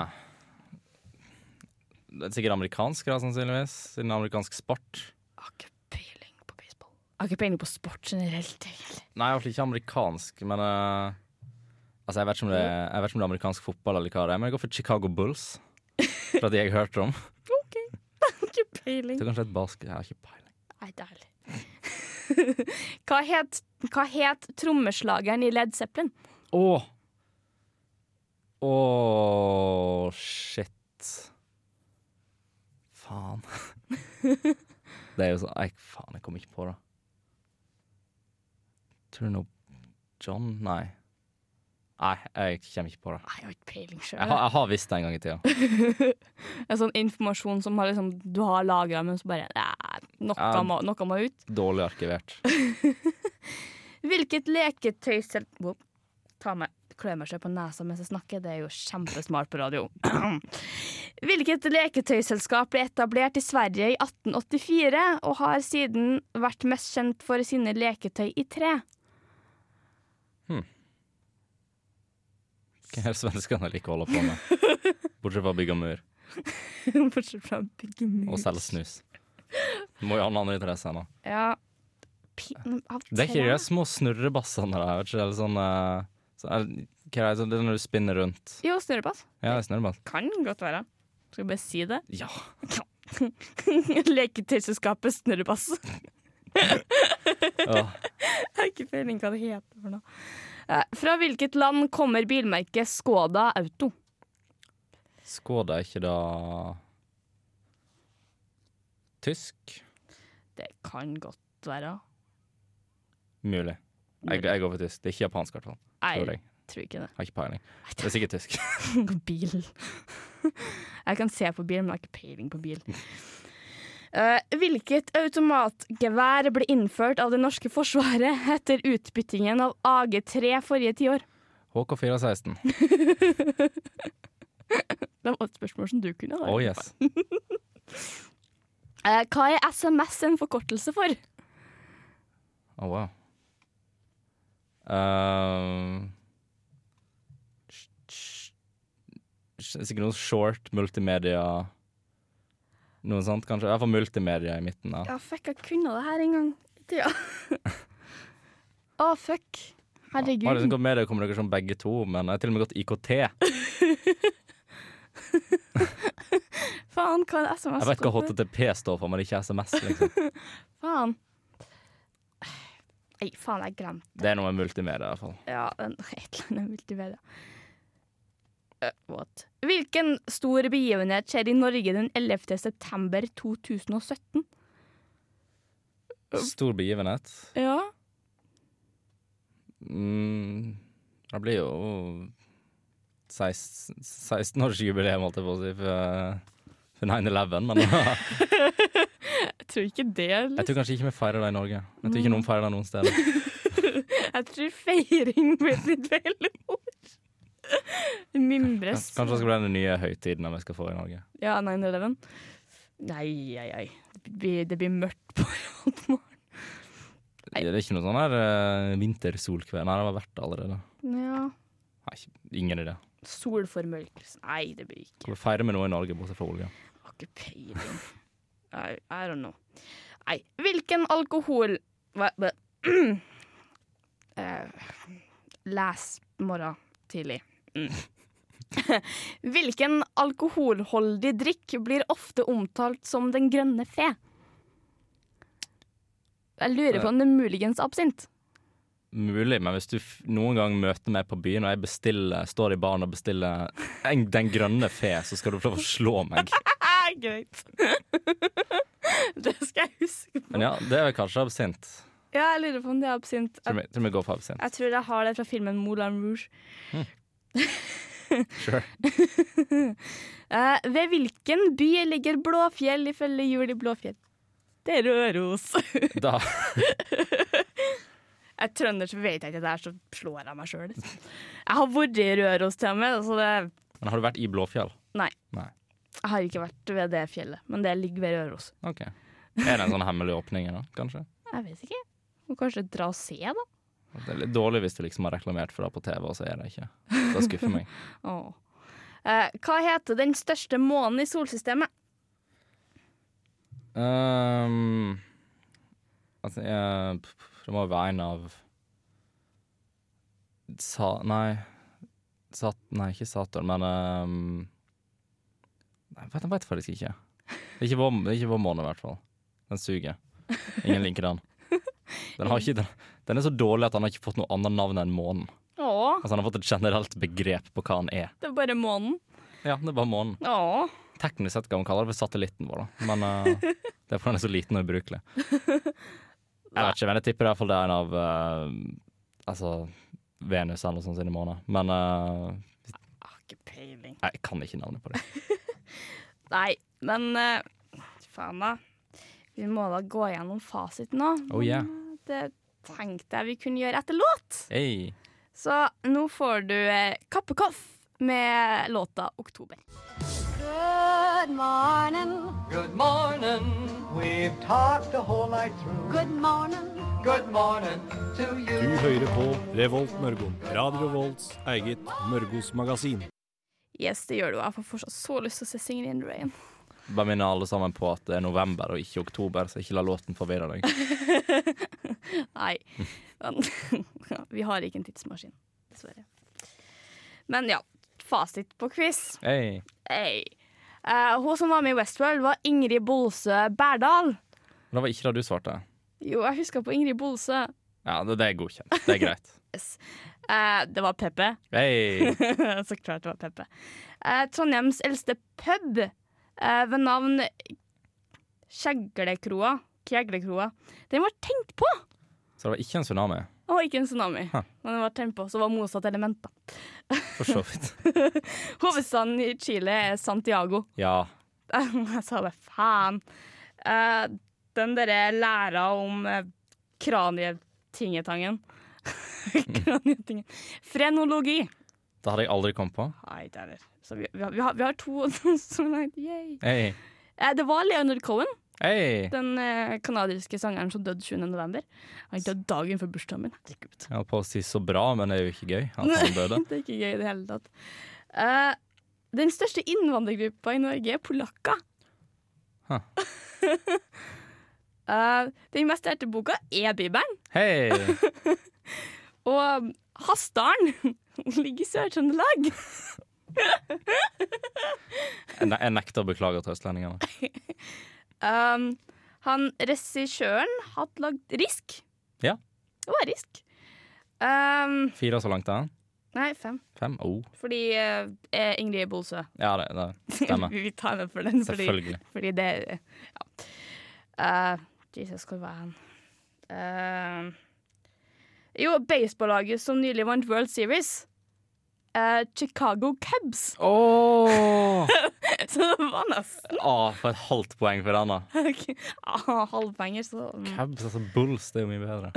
Speaker 3: Det er sikkert amerikansk, da, sannsynligvis. Siden det er amerikansk sport.
Speaker 2: Jeg har ikke peiling på baseball. Jeg har ikke peiling på sport generelt, egentlig.
Speaker 3: Nei, iallfall ikke amerikansk, men eh, Altså, jeg vet, ikke om det, er- jeg vet ikke om det er amerikansk fotball eller hva det er, men jeg går for Chicago Bulls. For at jeg har hørt om.
Speaker 2: OK, jeg har ikke peiling.
Speaker 3: Det er kanskje et basket Jeg har ikke peiling.
Speaker 2: Nei, deilig. hva, het, hva het trommeslageren i Led Zeppelin?
Speaker 3: Å! Å, shit. Faen. det er jo sånn Nei, faen, jeg kom ikke på det. Tror du nå John Nei. Nei, jeg kommer ikke på det.
Speaker 2: Nei, Jeg har ikke peiling
Speaker 3: Jeg har,
Speaker 2: sjøl.
Speaker 3: jeg har visst det en gang i tida.
Speaker 2: En sånn informasjon som har liksom, du har lagra, men så bare nei, noe,
Speaker 3: Ja.
Speaker 2: må, noe må ut.
Speaker 3: Dårlig arkivert.
Speaker 2: Hvilket leketøysel... Wow. Ta meg klør meg selv på nesa mens jeg snakker, det er jo kjempesmart på radio. Hvilket leketøyselskap ble etablert i Sverige i 1884, og har siden vært mest kjent for sine leketøy i tre?
Speaker 3: Hva er det svenskene liker å holde på med? Bortsett fra å bygge mur
Speaker 2: Bortsett fra byggemur.
Speaker 3: og selge snus. Du må jo ha noen andre interesser ennå.
Speaker 2: Ja. Pin av
Speaker 3: Eh, Det er ikke
Speaker 2: tre?
Speaker 3: de små snurrebassene der, vet ikke, eller sånn, eh, så er det- hva er det, sånn, det er når du spinner rundt.
Speaker 2: Jo, snurrepass.
Speaker 3: Ja, det er snurrebass.
Speaker 2: Kan godt være. Skal vi bare si det?
Speaker 3: Ja.
Speaker 2: Leketøyselskapet Snurrepass.
Speaker 3: ja.
Speaker 2: Jeg har ikke peiling hva det heter for noe. Eh, Fra hvilket land kommer bilmerket Skoda Auto?
Speaker 3: Skoda er ikke da Tysk?
Speaker 2: Det kan godt være.
Speaker 3: Mulig. Jeg, jeg går for tysk. Det er ikke japansk, i hvert fall.
Speaker 2: Nei,
Speaker 3: Tror
Speaker 2: jeg
Speaker 3: jeg.
Speaker 2: tror ikke det.
Speaker 3: Har ikke peiling. Det er sikkert tysk.
Speaker 2: Bil. Jeg kan se på bil, men jeg har ikke peiling på bil.
Speaker 3: Mm.
Speaker 2: Eh, hvilket automatgevær ble innført av det norske forsvaret etter utbyttingen av AG3 forrige tiår?
Speaker 3: HK416.
Speaker 2: Det var et spørsmål som du kunne ha.
Speaker 3: Oh yes.
Speaker 2: Eh, hva er SMS en forkortelse for?
Speaker 3: Oh wow. Ehm, sh- sh- sh- sikkert noe short, multimedia Noe sånt, kanskje. I hvert fall multimedia i midten. da.
Speaker 2: Ja, fuck, jeg kunne det her en gang i tida. Å, fuck.
Speaker 3: Jeg har liksom
Speaker 2: Herregud.
Speaker 3: gått media og kommunikasjon begge to, men jeg har til og med gått IKT.
Speaker 2: Faen, hva er det SMS
Speaker 3: Jeg vet hva
Speaker 2: står for?
Speaker 3: HTTP står for, men ikke SMS. liksom.
Speaker 2: Faen. Nei, faen, jeg glemte
Speaker 3: Det er noe med multimedia, i hvert fall.
Speaker 2: Ja, en, et eller annet multimedia. Eh, what? Hvilken stor begivenhet skjer i Norge den 11. september 2017?
Speaker 3: Stor begivenhet.
Speaker 2: Ja.
Speaker 3: Mm, det blir jo 16 16-årsjubileum, holdt jeg på å si, for, for 9-11, men
Speaker 2: Jeg tror ikke det.
Speaker 3: Jeg tror kanskje ikke vi feirer det i Norge. Jeg tror ikke noen feirer det noen steder.
Speaker 2: Jeg tror feiring blir litt feil ord. Mimres.
Speaker 3: Kanskje det skal bli den nye høytiden vi skal få i Norge.
Speaker 2: Ja, 9-11. Nei, ei, ei. Det blir, det blir mørkt på Revoltmorgen.
Speaker 3: Det er ikke noe sånn her eh, vintersolkveld. Nei, det var verdt det allerede.
Speaker 2: Ja.
Speaker 3: Nei, ingen idé.
Speaker 2: Solformørkelse. Nei, det blir ikke.
Speaker 3: Skal vi feire med noe i Norge bortsett fra olje?
Speaker 2: Har ikke peiling. I, I don't know. Nei, hvilken alkohol Hva hva- Eh, Les morgen tidlig. Mm. Hvilken alkoholholdig drikk blir ofte omtalt som den grønne fe? Jeg lurer på om det er muligens absint.
Speaker 3: Mulig, men hvis du f noen gang møter meg på byen og jeg bestiller, står i baren og bestiller en, Den grønne fe, så skal du få lov å slå meg.
Speaker 2: Ah, greit. det skal jeg huske. på.
Speaker 3: Men ja, det er vel kanskje absint.
Speaker 2: Ja, jeg lurer på om det er absint.
Speaker 3: Tror vi, tror vi går for absint.
Speaker 2: Jeg tror jeg har det fra filmen Moulin Rouge.
Speaker 3: Sure.
Speaker 2: Eh, ved hvilken by ligger Blåfjell ifølge Jul i Blåfjell? Det er Røros.
Speaker 3: Da
Speaker 2: jeg er trønder, så vet jeg ikke det her, så slår jeg meg sjøl. Jeg har vært i Røros til og med, så det,
Speaker 3: Men har du vært i Blåfjell?
Speaker 2: Nei.
Speaker 3: Nei.
Speaker 2: jeg har ikke vært ved det fjellet. Men det ligger ved Røros.
Speaker 3: Ok. Er det en sånn hemmelig åpning da, kanskje?
Speaker 2: Jeg vet ikke. Må kanskje dra og se, da.
Speaker 3: Det er litt dårlig hvis du liksom har reklamert for det på TV, og så er det ikke. Det skuffer meg.
Speaker 2: Åh. Eh, hva heter den største månen i solsystemet?
Speaker 3: Ehm, altså, jeg, p- p- det må jo være en av Sa... Nei. Sat, nei, ikke Saturn, men ehm, Nei, vet, jeg vet faktisk ikke. Det er ikke vår, det er ikke vår måned, i hvert fall. Den suger. Ingen linker den. Den, har ikke, den, den er så dårlig at han har ikke fått noe annet navn enn månen.
Speaker 2: Å,
Speaker 3: Altså Han har fått et generelt begrep på hva han er.
Speaker 2: det er bare månen.
Speaker 3: Ja, det er bare månen.
Speaker 2: Å.
Speaker 3: Teknisk sett kan man kalle det for satellitten vår, da. men eh, det er fordi den er så liten og ubrukelig. Jeg vet ikke, men jeg tipper i hvert fall det er en av eh, altså Venus eller noe sånt sine måneder. Men eh,
Speaker 2: Jeg har ikke peiling.
Speaker 3: jeg kan ikke navnet på det.
Speaker 2: Nei, men eh, faen da. Vi må da gå gjennom fasit nå.
Speaker 3: Oh, yeah.
Speaker 2: Men, eh, Det tenkte jeg vi kunne gjøre etter låt.
Speaker 3: Hey.
Speaker 2: Så nå får du eh, Kappekoff med låta 'Oktober'.
Speaker 8: Good morning.
Speaker 9: Good morning. We've talked the whole night through.
Speaker 8: Good morning.
Speaker 9: Good morning to you.
Speaker 7: Du hører på Revolt Mørgon. Radio Revolts eget Mørgos magasin.
Speaker 2: Yes, det gjør du. Jeg får fortsatt så lyst til å se 'Singing in the Rain'.
Speaker 3: Bare minne alle sammen på at det er november og ikke oktober, så ikke la låten forvirre deg.
Speaker 2: Nei. Men, vi har ikke en tidsmaskin, dessverre. Men ja, fasit på quiz.
Speaker 3: Hey.
Speaker 2: Hey. Eh, hun som var med i Westworld, var Ingrid Bolsø Berdal.
Speaker 3: Men det var ikke det du svarte.
Speaker 2: Jo, jeg husker på Ingrid Bolsø.
Speaker 3: Ja, det, det er godkjent. Det er greit.
Speaker 2: Eh, det var Peppe.
Speaker 3: Hey.
Speaker 2: Så klart det var Peppe. Eh, Trondheims eldste pub eh, ved navn Kjeglekroa. Kjeglekroa. Den var tenkt på!
Speaker 3: Så det var ikke en tsunami,
Speaker 2: Og ikke en tsunami.
Speaker 3: Hæ.
Speaker 2: Men den var tenkt på, så var motsatt element. da.
Speaker 3: for så vidt.
Speaker 2: Hovedstaden i Chile er Santiago.
Speaker 3: Ja.
Speaker 2: Jeg sa bare faen. Eh, den derre læra om eh, kranietingetangen. Mm. kranietingetangen. Frenologi.
Speaker 3: Det hadde jeg aldri kommet på.
Speaker 2: Nei, det er det. Så vi, vi, har- vi, har, vi har to som er Yay.
Speaker 3: Hey.
Speaker 2: Eh, det var Leonard Cohen,
Speaker 3: Hey.
Speaker 2: den eh, kanadiske sangeren som døde 20. november. Han døde dagen før bursdagen min. Herregud.
Speaker 3: Jeg holdt på å si så bra, men det er jo ikke gøy at han døde.
Speaker 2: Det er ikke gøy i det hele tatt. Eh, den største innvandrergruppa i Norge er polakker.
Speaker 3: Huh.
Speaker 2: Eh, den mest lærte boka er Bibelen.
Speaker 3: Hei!
Speaker 2: Og Hasdalen ligger i Sør-Trøndelag.
Speaker 3: Jeg ne- jeg nekter å beklage til østlendingene.
Speaker 2: Um, han regissøren hadde lagd Risk.
Speaker 3: Ja.
Speaker 2: Det var Risk. Um,
Speaker 3: Fire så langt, da?
Speaker 2: nei, fem.
Speaker 3: Fem? Oh.
Speaker 2: Fordi eh, eh, Ingrid Bolsø.
Speaker 3: Ja, det, det stemmer.
Speaker 2: Vi tar den for den, fordi,
Speaker 3: Selvfølgelig.
Speaker 2: fordi det ja. Eh, Jesus, hvor var han? Eh, jo, baseballaget som nylig vant World Series. eh, Chicago Cubs.
Speaker 3: Åh!
Speaker 2: Så det var nesten.
Speaker 3: Ah, for et halvt poeng for den, da.
Speaker 2: Ok. Ah, Halvpenger, så mm.
Speaker 3: Cabs, altså Bulls, det er jo mye bedre.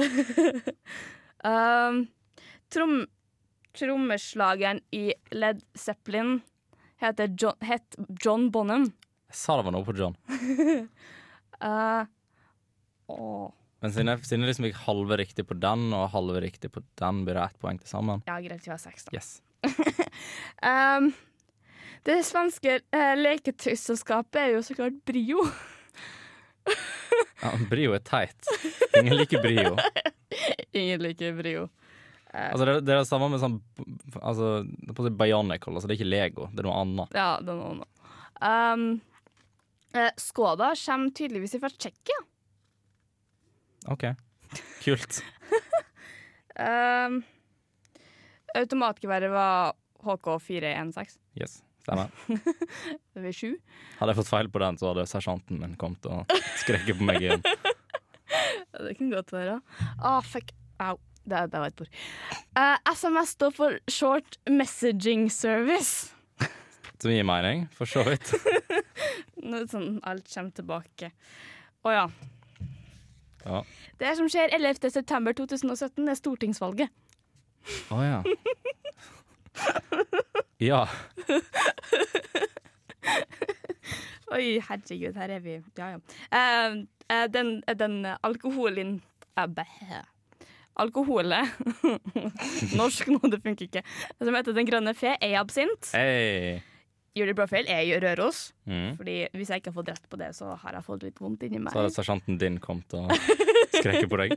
Speaker 2: Um, trom, trommeslageren i Led Zeppelin heter John, het John Bonham.
Speaker 3: Jeg sa det var noe på John.
Speaker 2: Eh, åh.
Speaker 3: Men siden jeg, siden jeg liksom gikk halve riktig på den og halve riktig på den, blir det ett poeng til sammen.
Speaker 2: Ja, greit, vi har seks, da.
Speaker 3: Yes.
Speaker 2: Ehm, det svenske uh, leketøysselskapet er jo så klart Brio.
Speaker 3: Ja, brio er teit. Ingen liker brio.
Speaker 2: Ingen liker Brio.
Speaker 3: Altså, det, er- det er det samme med sånn altså, det er på å si Bionicle. Altså, det er ikke Lego, det er noe annet.
Speaker 2: Ja, den var noe. Ehm, eh, Skoda kommer tydeligvis fra Tsjekkia.
Speaker 3: OK. Kult.
Speaker 2: Ehm, automatgeværet var HK416.
Speaker 3: Yes, stemmer.
Speaker 2: Det blir sju.
Speaker 3: Hadde jeg fått feil på den, så hadde sersjanten min kommet og skreket på meg igjen.
Speaker 2: Ja, det kan godt være. Å, fuck. Au. Det, det var et bord. Eh, SMS står for Short Messaging Service.
Speaker 3: Som gir mening, for så vidt.
Speaker 2: Nå er det sånn alt kommer tilbake. Å ja.
Speaker 3: Ja.
Speaker 2: Det som skjer 11. september 2017, er stortingsvalget.
Speaker 3: Å ja. Ja.
Speaker 2: Oi, herregud, her er vi. Ja, ja. Eh, eh, den, eh, den eh, alkoholen eh, bæ. Alkoholet Norsk nå, det funker ikke. Som heter Den grønne fe, er absint.
Speaker 3: Hey.
Speaker 2: Julie Brofeld er jo Røros.
Speaker 3: Mm.
Speaker 2: Fordi Hvis jeg ikke har fått rett på det, så har jeg fått litt vondt inni meg.
Speaker 3: Så hadde sersjanten din kommet og skreket på deg.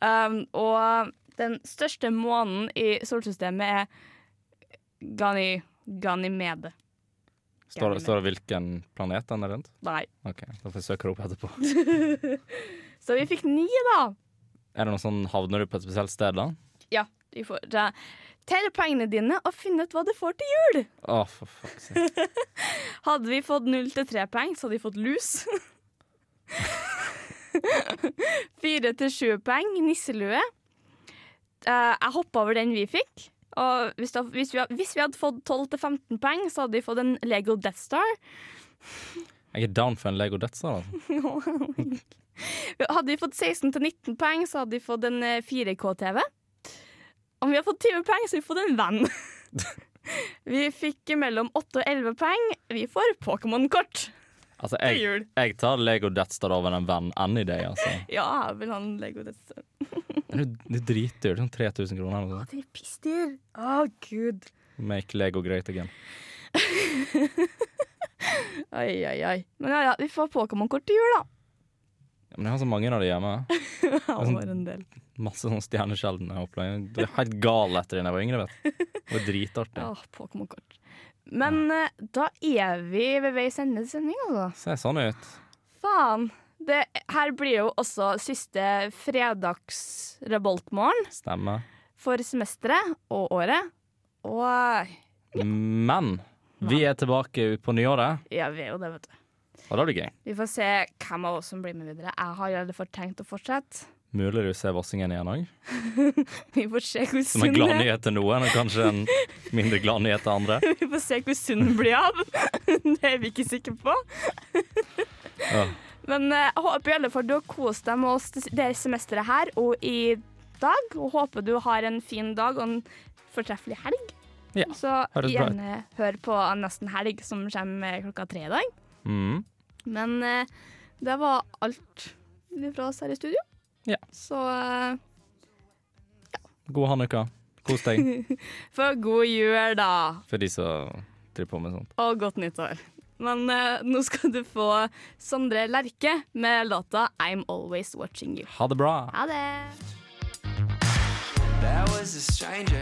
Speaker 2: Um, og den største månen i solsystemet er Gani, Ganymede.
Speaker 3: Står, det- står det hvilken planet den er rundt?
Speaker 2: Nei.
Speaker 3: OK, da får jeg søke det opp etterpå.
Speaker 2: Så vi fikk ni, da.
Speaker 3: Er det noe sånn Havner du på et spesielt sted, da?
Speaker 2: Ja. Vi får ja. telle poengene dine og finne ut hva du får til jul.
Speaker 3: Å, for fuck's sake.
Speaker 2: Hadde vi fått null til tre poeng, så hadde vi fått lus. Fire til sju poeng, nisselue. Eh, jeg hoppa over den vi fikk. Og hvis, da, hvis, vi, hvis vi hadde fått 12 til 15 poeng, så hadde vi fått en Lego Death Star.
Speaker 3: Jeg er down for en Lego Death Star. Altså.
Speaker 2: Hadde vi fått 16 til 19 poeng, så hadde vi fått en eh, 4K-TV. Om vi har fått 20 poeng, så har vi fått en venn. vi fikk mellom 8 og 11 poeng. Vi får Pokémon-kort
Speaker 3: Altså,
Speaker 2: til
Speaker 3: jeg,
Speaker 2: jul.
Speaker 3: jeg tar Lego Death Star over en venn any day, altså.
Speaker 2: Ja, jeg vil ha en Lego Death Star.
Speaker 3: Det er jo- det er dritdyrt. Sånn 3000 kroner eller noe sånt.
Speaker 2: Dere er pissdyr. Å, gud.
Speaker 3: Make Lego great again.
Speaker 2: Oi, oi, oi. Men ja, ja, vi får Pokémon-kort til jul, da.
Speaker 3: Ja, Men jeg har så mange av de hjemme.
Speaker 2: Det sånn- var en del.
Speaker 3: Masse sånn stjerneskjell når jeg oppla. Jeg ble helt gal etter det da jeg var yngre. vet du. Det var dritartig.
Speaker 2: Ja, Pokémon-kort. Men eh, da er vi ved veis ende til sending, altså.
Speaker 3: Ser sånn ut.
Speaker 2: Faen. Det, her blir jo også siste fredags-revoltmorgen
Speaker 3: Stemmer.
Speaker 2: for semesteret og året. Og
Speaker 3: Men vi er tilbake på nyåret,
Speaker 2: ja, vi er jo det, vet du.
Speaker 3: og det blir gøy.
Speaker 2: Vi får se hvem av oss som blir med videre. Jeg har i alle fall tenkt å fortsette.
Speaker 3: Mulig du ser Vossingen igjen òg,
Speaker 2: Vi får se hvor
Speaker 3: som en
Speaker 2: sunn
Speaker 3: glad nyhet til noen, og kanskje en mindre glad nyhet til andre.
Speaker 2: Vi får se hvor sunn den blir av. Det er vi ikke sikre på.
Speaker 3: Ja.
Speaker 2: Men eh, jeg håper i alle fall du har kost deg med oss det semesteret her og i dag. Og håper du har en fin dag og en fortreffelig helg.
Speaker 3: Ja,
Speaker 2: Så
Speaker 3: høres bra ut.
Speaker 2: gjerne hør på Nesten helg, som kommer eh, klokka tre i dag.
Speaker 3: Mm.
Speaker 2: Men eh, det var alt fra oss her i studio.
Speaker 3: Ja.
Speaker 2: Så eh,
Speaker 3: God hanukka. Kos deg
Speaker 2: for god jul, da.
Speaker 3: for de som driver på med sånt.
Speaker 2: Og godt nyttår. Men eh, nå skal du få Sondre Lerche med låta 'I'm Always Watching You'.
Speaker 3: Ha det bra.
Speaker 2: Ha det!
Speaker 9: There was a stranger